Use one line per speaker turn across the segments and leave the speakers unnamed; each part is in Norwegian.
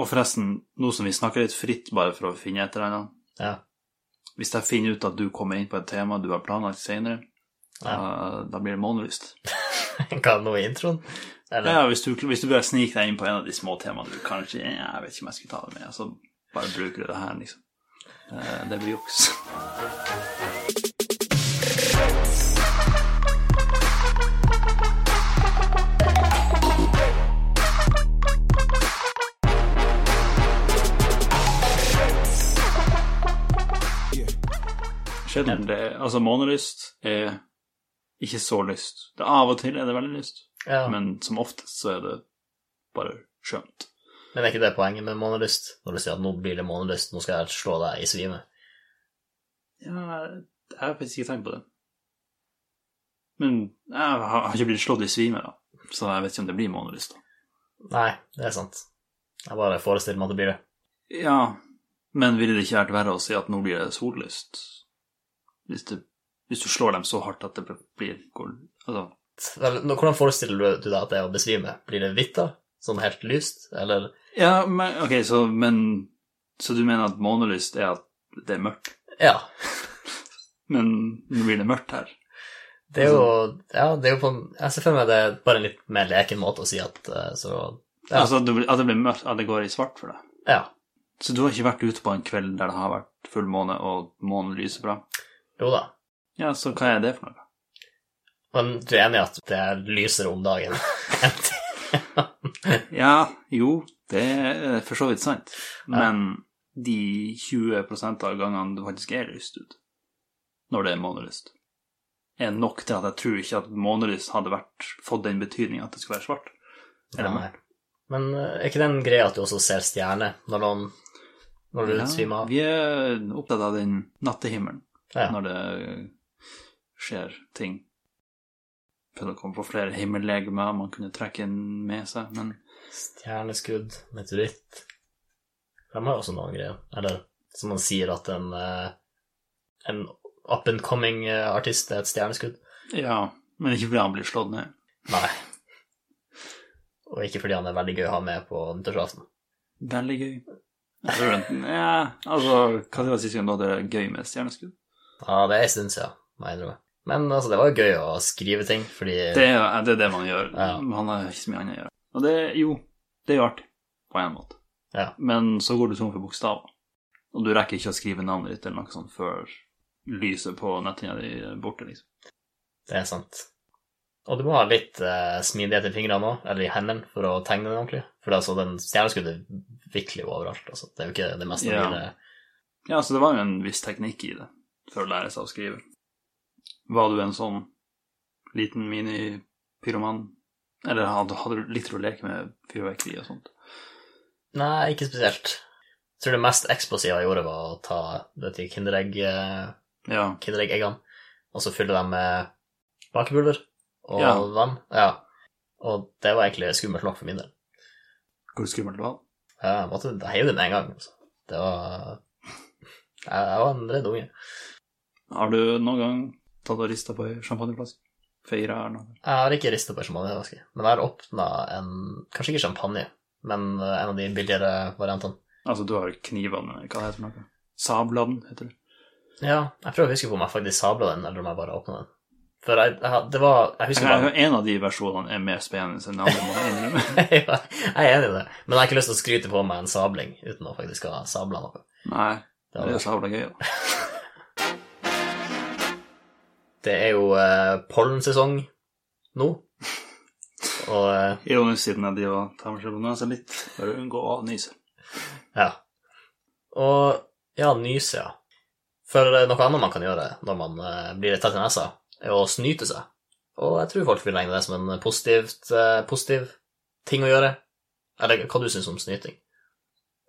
Og forresten, nå som vi snakker litt fritt bare for å finne et eller annet,
Ja.
hvis jeg finner ut at du kommer inn på et tema du har planlagt senere, eh, da, da blir det månelyst.
Hva nå i introen? Eller?
Ja, hvis du, hvis du bare sniker deg inn på en av de små temaene du kanskje Jeg vet ikke om jeg skulle ta det med, og så bare bruker du det her, liksom. Eh, Det blir juks. Sjelden det Altså, månelyst er ikke så lyst. Det Av og til er det veldig lyst.
Ja. Men,
Men som oftest så er det bare skjønt.
er ikke det poenget med månelyst? Når du sier at nå blir det månelyst, nå skal jeg slå deg i svime.
Ja, jeg har faktisk ikke tenkt på det. Men jeg har har ikke blitt slått i svime, da. Så jeg vet ikke om det blir månelyst, da.
Nei, det er sant. Jeg bare forestiller meg at det blir det.
Ja, men ville det ikke vært verre å si at nå blir det sollyst? Hvis, det, hvis du slår dem så hardt at det blir går, Altså,
Vel, nå, hvordan forestiller du deg at det er å besvime? Blir det hvitt, da? Sånn helt lyst? Eller
ja, men OK, så Men Så du mener at månelyst er at det er mørkt?
Ja.
Men nå blir det mørkt her.
Det er jo, ja, det er jo på en Jeg ser for meg det er bare en litt mer leken måte å si at eh, så Ja.
Altså at det blir- at det blir mørkt, at det går i svart for deg.
Ja.
Så du har ikke vært ute på en kveld der det har vært full måne og månen lyser bra?
Jo da.
Ja, så hva er det for noe?
Men du er enig i at det er lysere om dagen?
Ja, jo, det er for så vidt sant, men de 20 av gangene det faktisk er lyst ut, når det er månelyst, er nok til at jeg tror ikke at månelyst hadde vært, fått den betydningen at det skulle være svart. Eller
Nei.
mørkt.
Men eh, er ikke det en greie at du også ser stjerner når, noen, når du
Ja,
svimer av?
vi er opptatt av den nattehimmelen
Ja.
når det skjer ting. Prøvde å komme på flere himmellegemer man kunne trekke inn med seg, men
Stjerneskudd, meteoritt De har jo også noen greier. Eller som man sier at en, eh, en up and coming eh, artist er et stjerneskudd.
ja, men ikke fordi han blir slått ned.
Nei. Og ikke fordi han er veldig gøy å ha med på nyttårsaften.
Veldig gøy. Jeg tror den- Ja, altså, hva var sist gang du hadde det gøy med stjerneskudd?
Ja, det er en stund siden, må jeg innrømme. Men altså, det var jo gøy å skrive ting, fordi
Det er jo- det, er det man gjør.
Eh, Ja.
Man har ikke så mye annet å gjøre. Og det, jo, det er jo artig, på en måte.
Ja.
Men så går du tom for bokstaver, og du rekker ikke å skrive navnet ditt eller noe sånt før lyset på netthinna di er borte, liksom.
det er sant. Og du må ha litt eh, smidighet i fingrene òg, eller i hendene, for å tegne den ordentlig. For altså, den stjerneskuddet vikler jo overalt. altså. Det er jo ikke det mest
Ja.
mine
Ja, så det var jo en viss teknikk i det, for å lære seg å skrive. Var du en sånn liten mini-pyroman? Eller hadde, hadde du likte du å leke med fyrverkeri og sånt?
Nei, ikke spesielt. Jeg tror det mest eksplosive jeg gjorde, var å ta det til Kinderegg, eh,
Ja.
Kinderegg-eggene, og så fylle dem med bakepulver og
Ja.
vann. Ja. Og det var egentlig skummelt nok for min del.
Hvor skummelt var det?
Ja, Jeg måtte jeg heiv det med en gang. Altså. Det var jeg, jeg var en redd unge.
Har du noen gang tatt og rista på ei champagneflaske? Feira eller noe?
Jeg har ikke rista på champagneflaske, men jeg har åpna en Kanskje ikke champagne, men eh, en av de billigere variantene.
Altså, du har knivene Hva heter det for noe? Sablene, heter det.
Ja, jeg prøver å huske på om jeg faktisk sabla den, eller om jeg bare åpna den. For jeg, jeg, had- det var Jeg husker bare
Jeg, en av de versjonene er mer spennende enn den andre. må jeg innrømme.
jeg er enig i det, men jeg har ikke lyst til å skryte på meg en sabling uten å faktisk ha sabla noe.
Nei,
Det,
det er jo
hadde-
sabla gøy, da.
det er jo eh, pollensesong nå, og eh,
Ironisk siden jeg driver og tar meg selv på nesa litt for å unngå å nyse.
ja. Og ja, nyse, ja. For eh, noe annet man kan gjøre når man eh, blir litt tett i nesa, er å snyte seg. Og jeg tror folk vil regne det som en positivt, eh, positiv ting å gjøre. Eller hva du syns om snyting?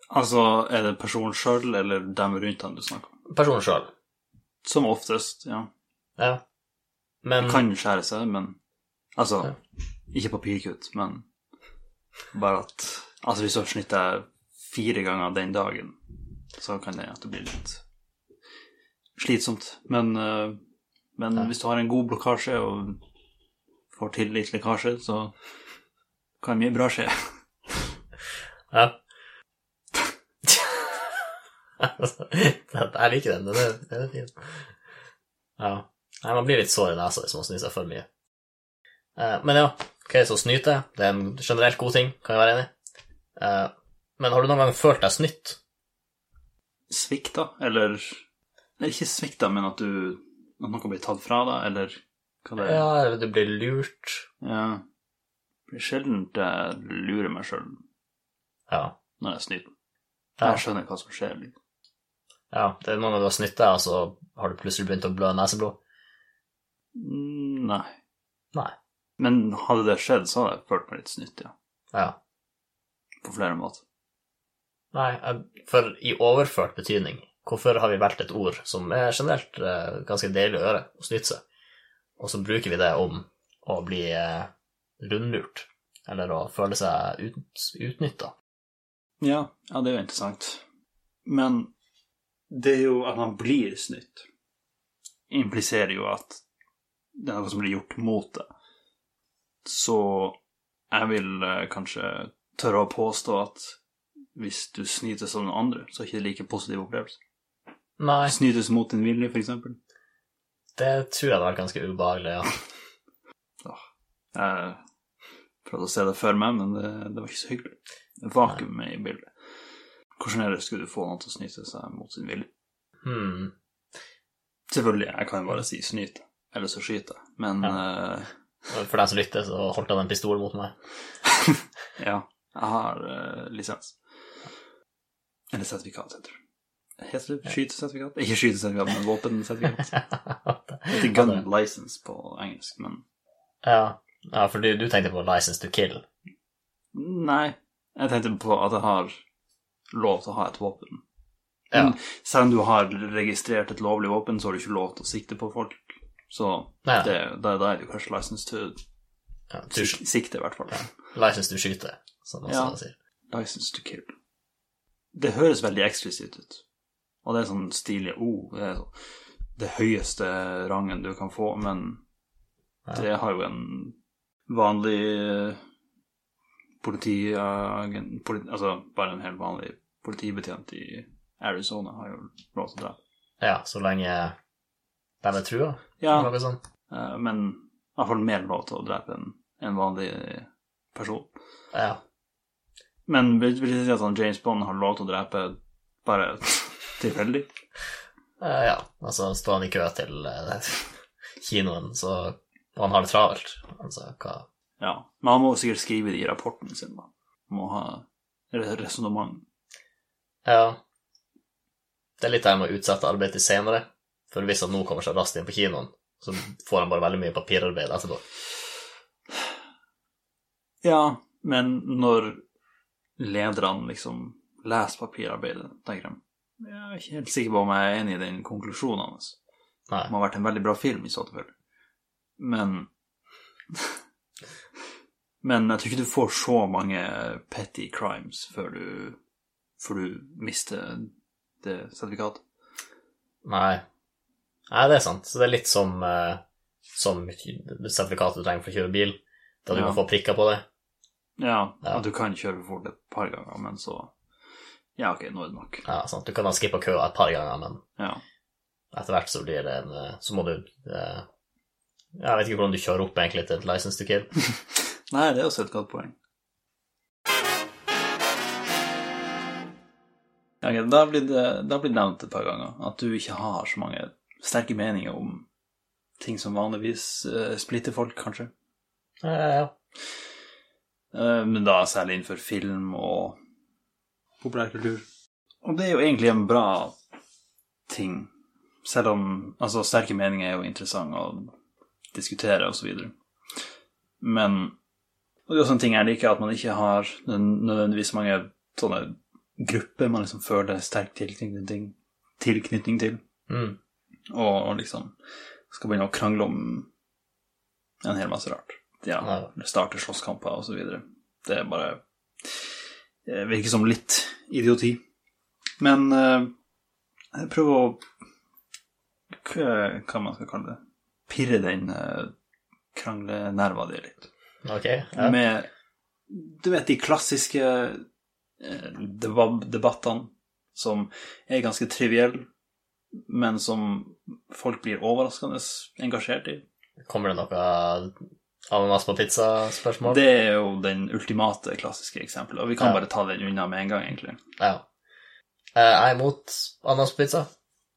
Altså, er det personen sjøl eller dem rundt han du snakker om?
Personen sjøl,
Som oftest, ja.
ja. Men
Kan skjære seg, men Altså,
Ja.
ikke papirkutt, men bare at Altså, hvis du har snytt deg fire ganger den dagen, så kan det at det blir litt slitsomt. Men, eh, men
Ja.
hvis du har en god blokkasje og får til litt lekkasje, så kan mye bra skje.
Ja. Jeg liker den. Den er, den er fin. Ja. Nei, man blir litt sår i nesa hvis man snur seg for mye. Eh, Men ja, ok, så snyte. Det er en generelt god ting, kan jeg være enig i. Eh, Men har du noen gang følt deg snytt?
Svikta, eller Eller ikke svikta, men at du At noe blir tatt fra deg, eller hva det er.
Ja, eller du blir lurt?
Ja. Det er sjelden jeg lurer meg sjøl
Ja.
når jeg snyter.
Ja.
Jeg skjønner hva som skjer. liksom.
ja. Det er noen ganger du har snytt deg, og så har du plutselig begynt å blø neseblod.
Mm, Nei.
Nei.
Men hadde det skjedd, så hadde jeg følt meg litt snytt, ja.
Ja.
På flere måter.
Nei, jeg- for i overført betydning, hvorfor har vi valgt et ord som er generelt eh, ganske deilig å gjøre, å snyte seg, og så bruker vi det om å bli eh, rundlurt, eller å føle seg ut, utnytta?
Ja, ja, det er jo interessant. Men det er jo at man blir snytt, impliserer jo at det er noe som blir gjort mot det. Så jeg vil eh, kanskje tørre å påstå at hvis du snytes av noen andre, så er ikke det like positiv opplevelse.
Nei,
Snytes mot din vilje, for eksempel.
det tror jeg hadde vært ganske ubehagelig, ja.
Jeg prøvde å se det før meg, men det, det var ikke så hyggelig. Vakuumet i bildet. Hvordan er det skulle du få noen til å snyte seg mot sin vilje?
Hmm.
Selvfølgelig, jeg kan jo bare si snyt, eller så skyter jeg. Men eh,
For deg som lytter, så holdt han en pistol mot meg.
eh, ja, jeg har eh, lisens. Eller sertifikat, heter det. Heter det skytesertifikat? Ikke skytesertifikat, men våpensertifikat. Det heter gun license på engelsk, men
ja. ja, for du, du tenkte på 'license to kill'.
nei. Jeg tenkte på at jeg har lov til å ha et våpen.
Ja.
Men selv om du har registrert et lovlig våpen, så har du ikke lov til å sikte på folk. Så
Nei,
det, da, da er det jo kanskje license to
ja, du,
sik sikte, i hvert fall.
license to skyte, som man
Ja.
også sier.
License to kill. Det høres veldig eksklusivt ut. Og det er sånn stilige O. det er sånn, det høyeste rangen du kan få, men
Ja.
det har jo en vanlig eh, politiagent politi, Altså bare en helt vanlig politibetjent i Arizona har jo lov til å dra.
Ja, så lenge de er trua,
Ja,
eller noe sånt.
eh, men i hvert fall mer lov til å drepe en, en vanlig person.
Ja.
Men vil vil det si at han James Bond har lov til å drepe bare tilfeldig?
Eh, ja, altså står han i kø til eh, kinoen, så, og han har det travelt. Altså, hva
Ja, men han må jo sikkert skrive det i rapporten sin, da. Han må ha resonnement.
Ja. Det er litt det her med å utsette arbeidet til senere, for hvis han nå kommer seg raskt inn på kinoen, så får han bare veldig mye papirarbeid etterpå.
Ja, men når lederne liksom leser papirarbeidet, tenker de Jeg er ikke helt sikker på om jeg er enig i den konklusjonen hans.
Nei.
Det må ha vært en veldig bra film i så tilfelle. Men Men jeg tror ikke du får så mange petty crimes før du, før du mister det sertifikatet.
Nei. Nei, det er sant. Så det er litt som, eh, som sertifikatet du trenger for å kjøre bil, da du
Ja.
kan få prikker på det.
Ja,
Ja.
at du kan kjøre for fort et par ganger, men så Ja, ok, nå er det nok.
Ja, sant. Du kan ha skippa køa et par ganger, men
Ja.
etter hvert så blir det en eh, Så må du eh, Jeg vet ikke hvordan du kjører opp egentlig til et license to kill.
Nei, det er også et godt poeng. Ja, ok, da blir det, da blir det nevnt et par ganger at du ikke har så mange sterke meninger om ting som vanligvis eh, splitter folk, kanskje.
Ja, ja, ja.
Eh, men da særlig innenfor film og populærkultur. Og det er jo egentlig en bra ting, selv om altså, sterke meninger er jo interessant å diskutere osv. Men og det er også en ting jeg liker, at man ikke har nød- nødvendigvis mange sånne grupper man liksom føler sterk tilknytning til. Tilknytning til
Mm.
og, og liksom skal begynne å krangle om en hel masse rart. Ja,
Ja.
starte slåsskamper og så videre. Det er bare det virker som litt idioti. Men eh, jeg prøver å k- Hva man skal kalle det? Pirre den eh, kranglenerva di litt.
Ok. Ja.
Med Du vet de klassiske eh, debab- debattene som er ganske triviell, men som folk blir overraskende engasjert i.
Kommer det noe ananas på pizza-spørsmål?
Det er jo den ultimate klassiske eksempelet, og vi kan
Ja.
bare ta den unna med en gang, egentlig.
Ja. Eh, Jeg er imot ananas på pizza,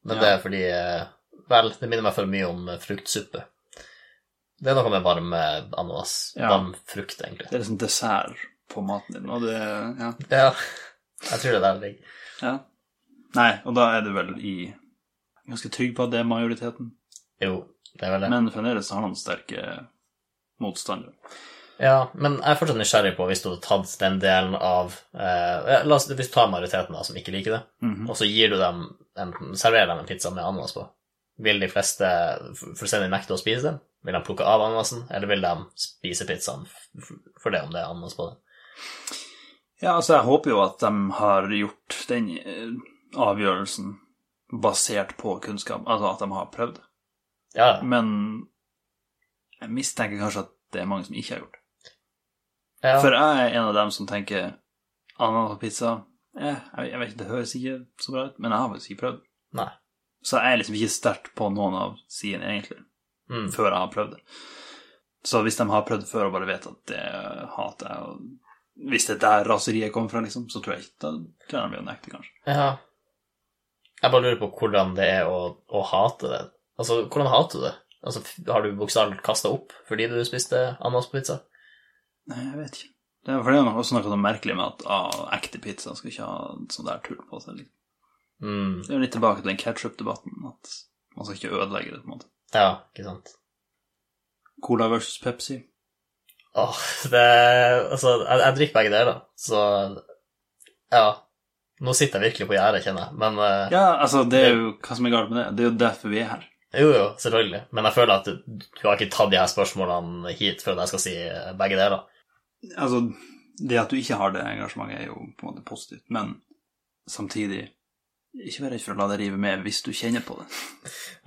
men
Ja.
det er fordi eh, Vel, det minner meg for mye om eh, fruktsuppe. Det er noe med varm eh, ananas.
Ja.
Varm frukt, egentlig.
Det er liksom dessert på maten din, og det Ja.
Ja. Jeg tror det er der det ligger.
ja. Nei, og da er det vel i Ganske trygg på at det er majoriteten,
Jo, det er vel det.
men fremdeles har han sterke motstandere.
Ja, men jeg er fortsatt nysgjerrig på hvis du hadde tatt den delen av eh, ja, La oss hvis du tar majoriteten da, som ikke liker det,
Mhm.
og så gir du dem en, serverer dem en pizza med ananas på. Vil de fleste fullstendig nekte å spise den? Vil de plukke av ananasen, eller vil de spise pizzaen f- f- for det om det er ananas på den?
Ja, altså, jeg håper jo at de har gjort den eh, avgjørelsen basert på kunnskap, altså at de har prøvd.
Ja,
Men jeg mistenker kanskje at det er mange som ikke har gjort det.
ja.
For jeg er en av dem som tenker ananas på pizza eh, jeg, jeg vet ikke, det høres ikke så bra ut, men jeg har faktisk ikke prøvd.
Nei.
Så jeg er liksom ikke sterkt på noen av sidene, egentlig,
Mm.
før jeg har prøvd det. Så hvis de har prøvd før og bare vet at det hater jeg, og hvis det er der raseriet kommer fra, liksom, så tror jeg ikke da tror jeg de blir å nekte, kanskje.
ja. Jeg bare lurer på hvordan det er å, å hate det. Altså, hvordan hater du det? Altså, f- har du bokstavelig kasta opp fordi du spiste ananas på pizza?
Nei, jeg vet ikke. Det er, for det er noe- også noe sånn merkelig med at ah, ekte pizza skal ikke ha sånn der tull på seg. Liksom.
Mm.
Det er jo litt tilbake til den ketchup-debatten, at man skal ikke ødelegge det, på en måte.
Ja, ikke sant.
Cola versus Pepsi.
Åh, det Altså, jeg, jeg drikker begge deler, så Ja. Nå sitter jeg virkelig på gjerdet, kjenner jeg, men eh,
Ja, altså, det er jo hva som er galt med det. Det er jo derfor vi er her.
Jo, jo, selvfølgelig. Men jeg føler at du, du har ikke tatt de her spørsmålene hit før jeg skal si eh, begge deler.
Altså, det at du ikke har det engasjementet, er jo på en måte positivt, men samtidig ikke vær redd for å la deg rive med hvis du kjenner på det.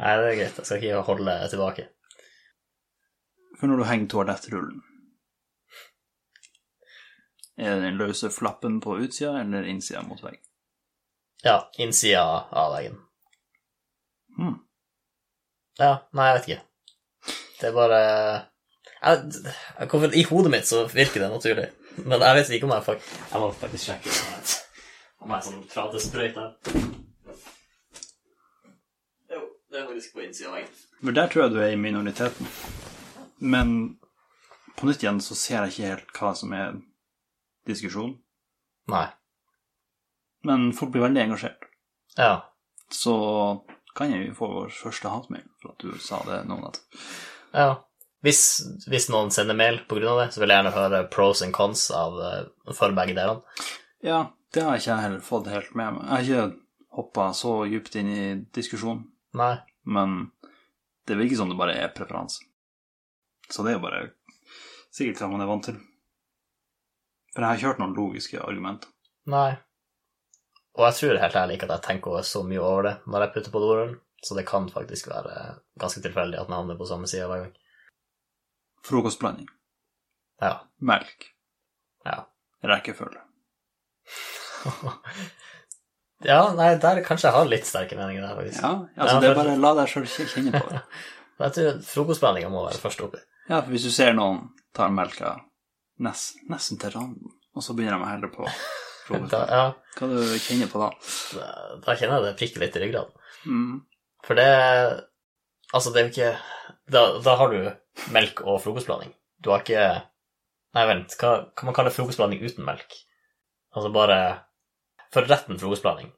Nei, det er greit. Jeg skal ikke holde tilbake.
For når du henger toalettrullen Er det den løse flappen på utsida eller innsida mot veggen?
Ja, innsida av veggen.
Hmm.
Ja, nei, jeg vet ikke. Det er bare jeg, jeg kommer, I hodet mitt så virker det naturlig, men jeg vet ikke om jeg faktisk Jeg må faktisk sjekke om jeg- om jeg er sånn pratesprøyt her. Jo, det er faktisk på innsida av veggen.
For der tror jeg du er i minoriteten. Men på nytt igjen så ser jeg ikke helt hva som er diskusjonen.
Nei.
Men folk blir veldig engasjert.
Ja.
Så kan jeg jo få vår første hatmail for at du sa det nå nettopp.
ja. Hvis, hvis noen sender mail på grunn av det, så vil jeg gjerne høre pros and cons av, eh, for begge delene.
Ja, det har ikke jeg heller fått helt med meg. Jeg har ikke hoppa så djupt inn i diskusjonen,
Nei.
men det virker som det bare er preferanse. Så det er jo bare sikkert hva man er vant til. For jeg har ikke hørt noen logiske argumenter.
Nei. Og jeg tror helt ærlig ikke at jeg tenker så mye over det når jeg putter på dorullen, så det kan faktisk være ganske tilfeldig at den havner på samme side hver gang.
Frokostblanding.
Ja.
Melk.
Ja.
Rekkefølge.
ja, nei, der kanskje jeg har litt sterke meninger der, faktisk.
Ja, altså
Ja,
det
for-
er bare la deg sjøl kjenne på det.
Men Jeg tror frokostblandinga må være først oppi.
Ja, for hvis du ser noen ta melka nest, nesten til randen, og så begynner de å helle på
Da,
frokosten,
ja,
hva du kjenner på da?
da da kjenner jeg det prikker litt i ryggraden.
Mm.
For det Altså, det er jo ikke Da, da har du melk og frokostblanding. Du har ikke Nei, vent, hva kan man kalle frokostblanding uten melk? Altså bare For retten frokostblanding.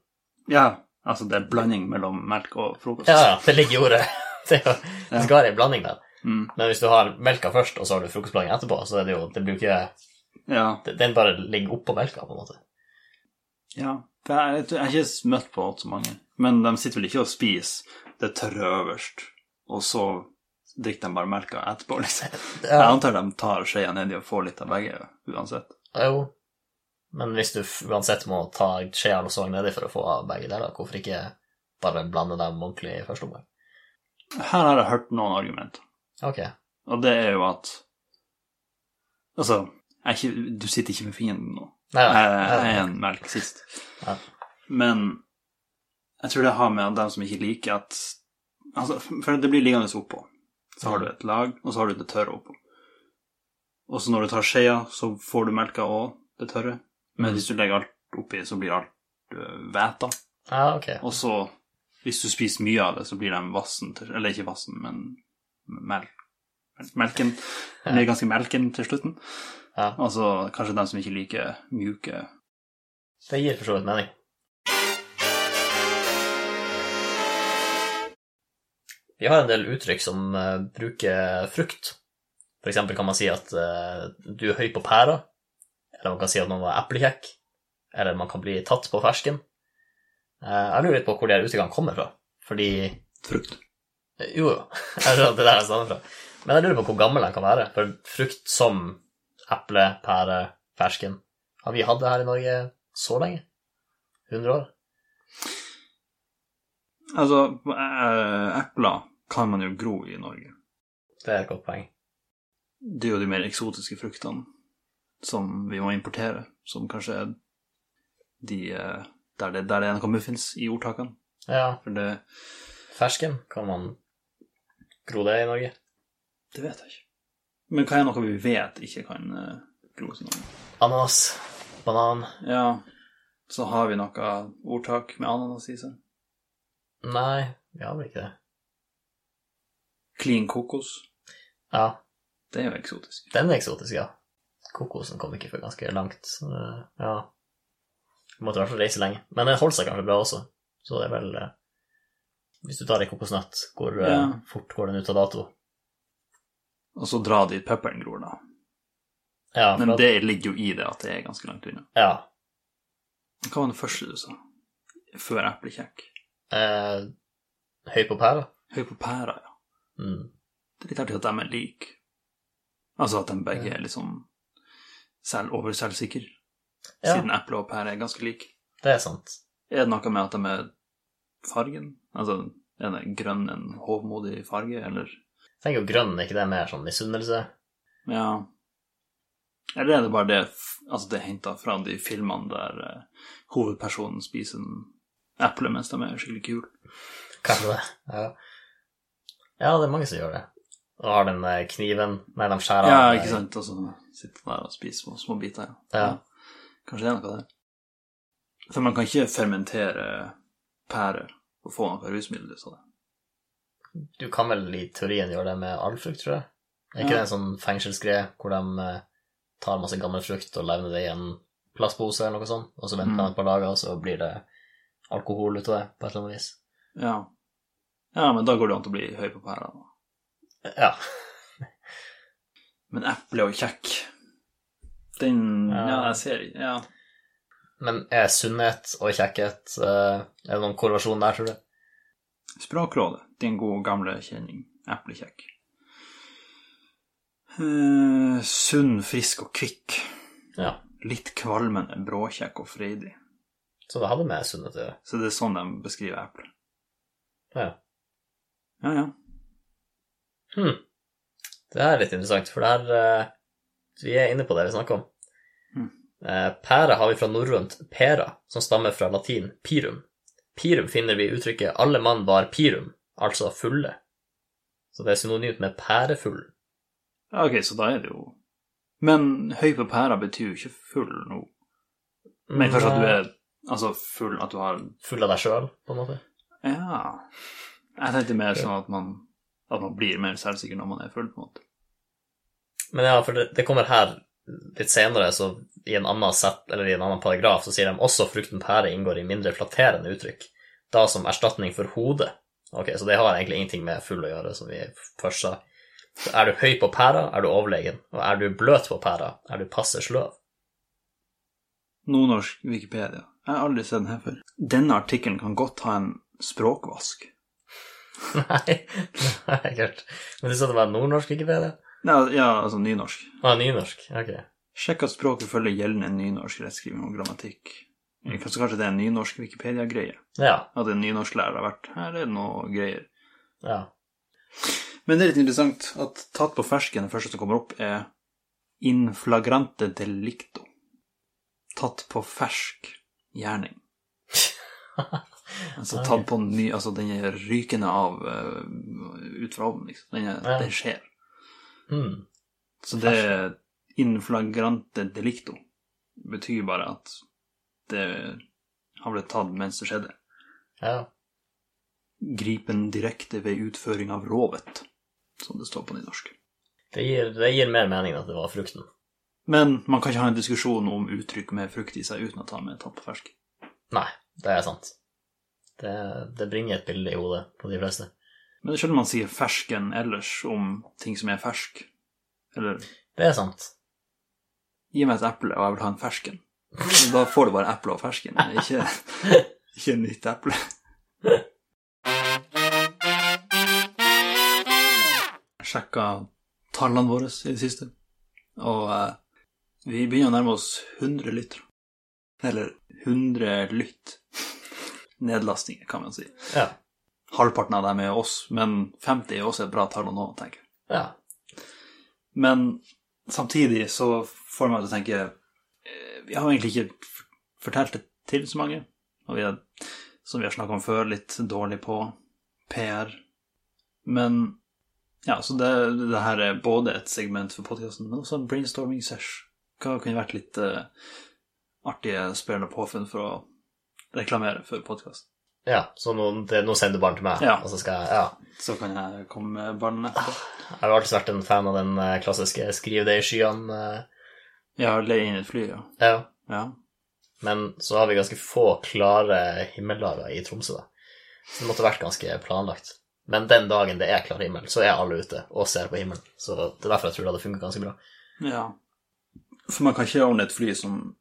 Ja, altså det er blanding mellom melk og frokost.
Ja, ja, det ligger i ordet. Det, er jo- det skal være en blanding der.
Mm.
Men hvis du har melka først, og så har du frokostblanding etterpå, så er det jo Det blir jo ikke
ja.
det- Den bare ligger oppå melka, på en måte.
ja. Det er, jeg har ikke møtt på så mange, men de sitter vel ikke og spiser det tørre øverst, og så drikker de bare melka etterpå, liksom. Jeg
Ja,
antar de tar skjea nedi og får litt av begge, uansett.
jo. Men hvis du f- uansett må ta skjea og song nedi for å få av begge deler, hvorfor ikke bare blande dem ordentlig i første omgang?
Her har jeg hørt noen argument,
Ok.
og det er jo at Altså, jeg er ikke, du sitter ikke med fienden nå.
Nei,
Jeg
nei,
jeg
nei.
er en melk sist.
Ja.
Men jeg tror det har med at dem som ikke liker at altså, For det blir liggende oppå. Så har du et lag, og så har du det tørre oppå. Og så når du tar skjea, så får du melka og det tørre. Men
Mm.
hvis du legger alt oppi, så blir alt øh, væta.
Ja, ok.
Og så, hvis du spiser mye av det, så blir de vassen til Eller ikke vassen, men mel, melken.
Ja.
Blir ganske melken til slutten.
Ja.
Altså kanskje dem som ikke liker mjuke
Det gir for så vidt mening. Vi har en del uttrykk som eh, bruker frukt. For eksempel kan man si at eh, du er høy på pæra, eller man kan si at noen var eplekjekk, eller man kan bli tatt på fersken. Eh, jeg lurer litt på hvor de her uttrykkene kommer fra, fordi
frukt.
Jo, jo, jeg skjønner at det er der jeg stammer fra. Men jeg lurer på hvor gammel den kan være, for frukt som eple, pære, fersken Har vi hatt det her i Norge så lenge? 100 år?
Altså, eh, epler kan man jo gro i Norge.
Det er et godt poeng.
det er jo de mer eksotiske fruktene som vi må importere, som kanskje er de eh, der det, der det ene kommer fins i ordtakene.
Ja,
For det,
fersken kan man gro det i Norge.
det vet jeg ikke. Men hva er noe vi vet ikke kan eh, gro i Norge?
Ananas, banan
Ja, så har vi noe ordtak med ananas i seg.
Nei, vi har vel ikke det.
Klin kokos.
Ja,
Det er jo eksotisk.
den er eksotisk, ja. Kokosen kom ikke før ganske langt. så det- Ja. Vi måtte i hvert fall reise lenge. Men den holdt seg kanskje bra også, så det er vel eh, Hvis du tar ei kokosnøtt, hvor eh,
Ja.
fort går den ut av dato?
Og så dra dit pepperen gror, da.
Ja,
Men
for at-
det ligger jo i det at det er ganske langt unna.
ja.
Hva var det første du sa? Før eplekjekk.
Eh, høy på pæra.
Høy på pæra, ja.
Mm.
Det er litt artig at de er like. Altså at de begge er liksom selv over selvsikre,
Ja.
siden eple og pære er ganske like.
Det er sant.
Er det noe med at de er fargen? Altså, er det grønn en hovmodig farge, eller
Jeg tenker jo grønn, er ikke det mer sånn misunnelse?
Ja. Eller er det bare det f- Altså, det er henta fra de filmene der eh, hovedpersonen spiser en eple mens de er skikkelig kule.
Kanskje det. Ja. ja, det er mange som gjør det. Og har den eh, kniven Nei, de skjærer
Ja,
av, eh,
ikke sant? Og så sitter der og spiser små, små biter.
Ja.
Kanskje det er noe der. For man kan ikke fermentere pærer og få noe rusmiddel ut av det.
Du kan vel i teorien gjøre det med all frukt, tror jeg. Er ikke
Ja.
det en sånn fengselsgreie hvor de eh, tar masse gammel frukt og levner det i en plastpose eller noe sånt, og så venter
Mm.
de et par dager, og så blir det alkohol ut av det på et eller annet vis?
Ja. ja, men da går det an til å bli høy på pæra. da.
Ja.
Men eple og kjekk Den
Ja.
Ja, jeg ser ikke ja.
Men er sunnhet og kjekkhet eh, Er det noen korrelasjon der, tror du?
Språkrådet, din gode gamle kjenning. Eplekjekk. Eh, sunn, frisk og kvikk.
Ja.
Litt kvalmende, bråkjekk og freidig.
Så det hadde med sunnhet å gjøre.
Så det er sånn de beskriver eple.
Ja.
Ja, ja.
Det her er litt interessant, for det her eh, Vi er inne på det vi snakker om.
Mm.
Eh, pære har vi fra norrønt pæra, som stammer fra latin pirum. Pirum finner vi i uttrykket 'alle mann var pirum', altså fulle. Så det er synonymt med pærefull.
Ja, Ok, så da er det jo Men høy på pæra betyr jo ikke full nå. Men først at du er altså full, at du har
Mm, eh, Full av deg sjøl, på en måte.
Ja. Jeg tenkte mer sånn at man, at man blir mer selvsikker når man er full, på en måte.
Men ja, for det, det kommer her litt senere, så i en annen set, eller i en annen paragraf, så sier de også frukten pære inngår i mindre flatterende uttrykk, da som erstatning for hodet. Ok, så det har egentlig ingenting med full å gjøre, som vi først sa. Så er du høy på pæra, er du overlegen, og er du bløt på pæra, er du passe sløv.
Nordnorsk Wikipedia. Jeg har aldri sett den her før. Denne artikkelen kan godt ha en språkvask.
Nei, det er klart. Men du sa det var nordnorsk, ikke bedre?
Ja, ja altså nynorsk.
Ah, nynorsk, ok.
Sjekk at språket følger gjeldende nynorsk rettskriving og grammatikk. Kanskje, kanskje det er en nynorsk Wikipedia-greie?
Ja,
At en nynorsklærer har vært Her er det noe greier.
ja.
Men det er litt interessant at tatt på fersken, det første som kommer opp, er in flagrante delicto. Tatt på fersk gjerning. Altså tatt på ny Altså den er rykende av eh, ut fra ovnen, liksom. Den, er,
Ja.
den skjer.
Hmm.
Så det er inflagrante delicto betyr bare at det har blitt tatt mens det skjedde.
Ja.
Gripen direkte ved utføring av rovet, som det står på nynorsk.
Det gir, det gir mer mening at det var frukten.
Men man kan ikke ha en diskusjon om uttrykk med frukt i seg uten å ta med tappefersk.
Nei, det er sant. Det, det bringer et bilde i hodet på de fleste.
Men selv om man sier fersken ellers om ting som er fersk, eller
Det er sant.
gi meg et eple, og jeg vil ha en fersken. Men Da får du bare eple og fersken, ikke, ikke en nytt eple. Jeg sjekka tallene våre i det siste, og eh, vi begynner å nærme oss 100 lyttere. Eller 100 lytt. Nedlastinger, kan man si.
Ja.
Halvparten av dem er oss, men 50 er også et bra tall å nå, tenker jeg.
ja.
Men samtidig så får meg til å tenke eh, Vi har jo egentlig ikke f- fortalt det til så mange. Og vi er, som vi har snakka om før, litt dårlig på PR. Men ja, så det, det her er både et segment for podkasten, men også en brainstorming sesh. Hva kunne vært litt eh, artige, spennende påfunn for å reklamere for podkast?
ja. Så nå, det, nå sender du barn til meg,
Ja.
og så skal jeg Ja.
Så kan jeg komme med ballen etterpå.
Jeg har jo alltid vært en fan av den eh, klassiske 'skriv det i skyene'. eh,
Jeg har leid inn et fly, ja.
Ja.
ja.
Men så har vi ganske få klare himmeldager i Tromsø, da. Så det måtte vært ganske planlagt. Men den dagen det er klar himmel, så er alle ute og ser på himmelen. Så det er derfor jeg tror det hadde funket ganske bra.
Ja. For man kan ikke ordne et fly som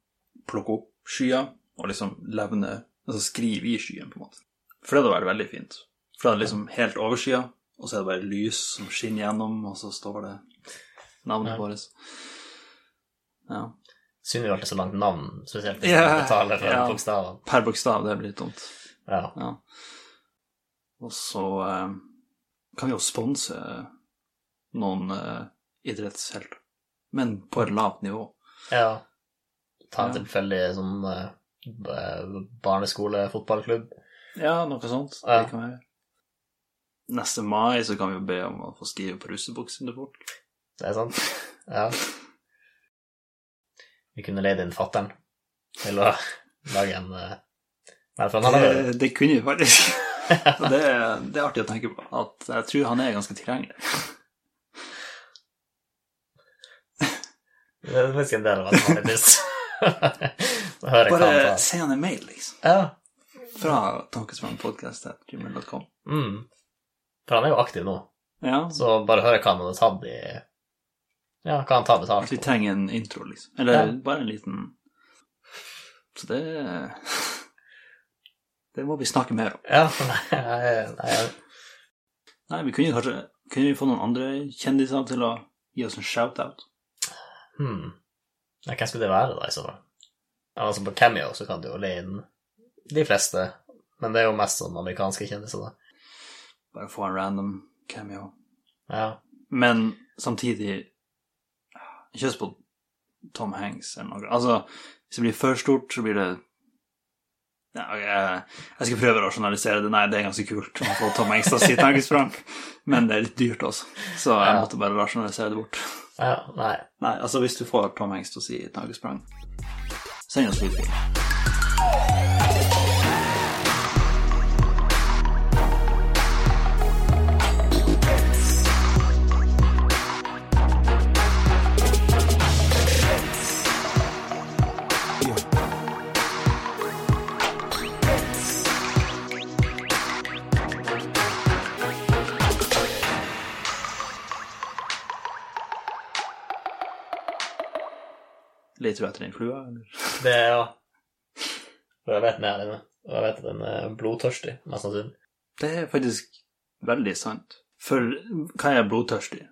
plukker opp skyer, og liksom levner Altså skriver i skyen, på en måte. For det hadde vært veldig fint. For det er liksom helt over skya, og så er det bare lys som skinner gjennom, og så står det navnet
Ja.
vårt. Ja.
Synd vi valgte så langt navn, spesielt hvis
Ja,
man betaler for
ja.
bokstavene.
Per bokstav, det blir litt dumt.
Ja.
Ja. Og så eh, kan vi jo sponse noen eh, idrettshelter, men på et lavt nivå.
ja. Ta en
Ja.
tilfeldig sånn eh, b- barneskolefotballklubb.
Ja, noe sånt.
Ja.
Det kan være. Neste mai så kan vi jo be om å få skrive på russebuksene til folk.
Det er sant. Ja. Vi kunne leid inn fatteren til å lage en eh, Nei, for han har laget
Det, det kunne vi faktisk. Og det, det er artig å tenke på. At jeg tror han er ganske tilgjengelig.
Det er faktisk en del av at man er dust. Å høre hva han
Bare
tar.
send han en mail, liksom.
Ja.
Fra tankesmannpodkast.gmail.com.
Mm. For han er jo aktiv nå,
Ja, så
så bare høre hva han hadde tatt i Ja, hva han tar betalt.
vi trenger en intro, liksom. Eller
Ja.
bare en liten Så det Det må vi snakke mer om.
Ja, nei, nei,
Nei, vi kunne kanskje Kunne vi få noen andre kjendiser til å gi oss en shout-out?
hmm. ja, Hvem skulle det være, da, i så fall? Ja, Altså, på Cameo så kan du jo leie inn de fleste, men det er jo mest sånn amerikanske kjendiser, da.
Bare få en random cameo.
Ja.
Men samtidig Ikke husk på Tom Hanks eller noe. Altså, hvis det blir for stort, så blir det ja, jeg, jeg skal prøve å rasjonalisere det. Nei, det er ganske kult å få Tom Hanks til å si tankesprang, men det er litt dyrt også, så jeg
Ja.
måtte bare rasjonalisere det bort.
ja nei.
Nei, altså, hvis du får Tom Hanks til å si tankesprang, send oss lydfil. Leter du etter din flue, eller?
Det er jo For jeg vet den er inne. Og jeg vet at den er blodtørstig, mest sannsynlig.
Det er faktisk veldig sant. For hva er blodtørstig?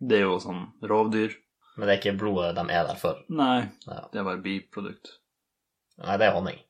Det er jo sånn rovdyr.
Men det er ikke blodet de er der for.
Nei,
Ja.
det er bare biprodukt.
Nei, det er honning.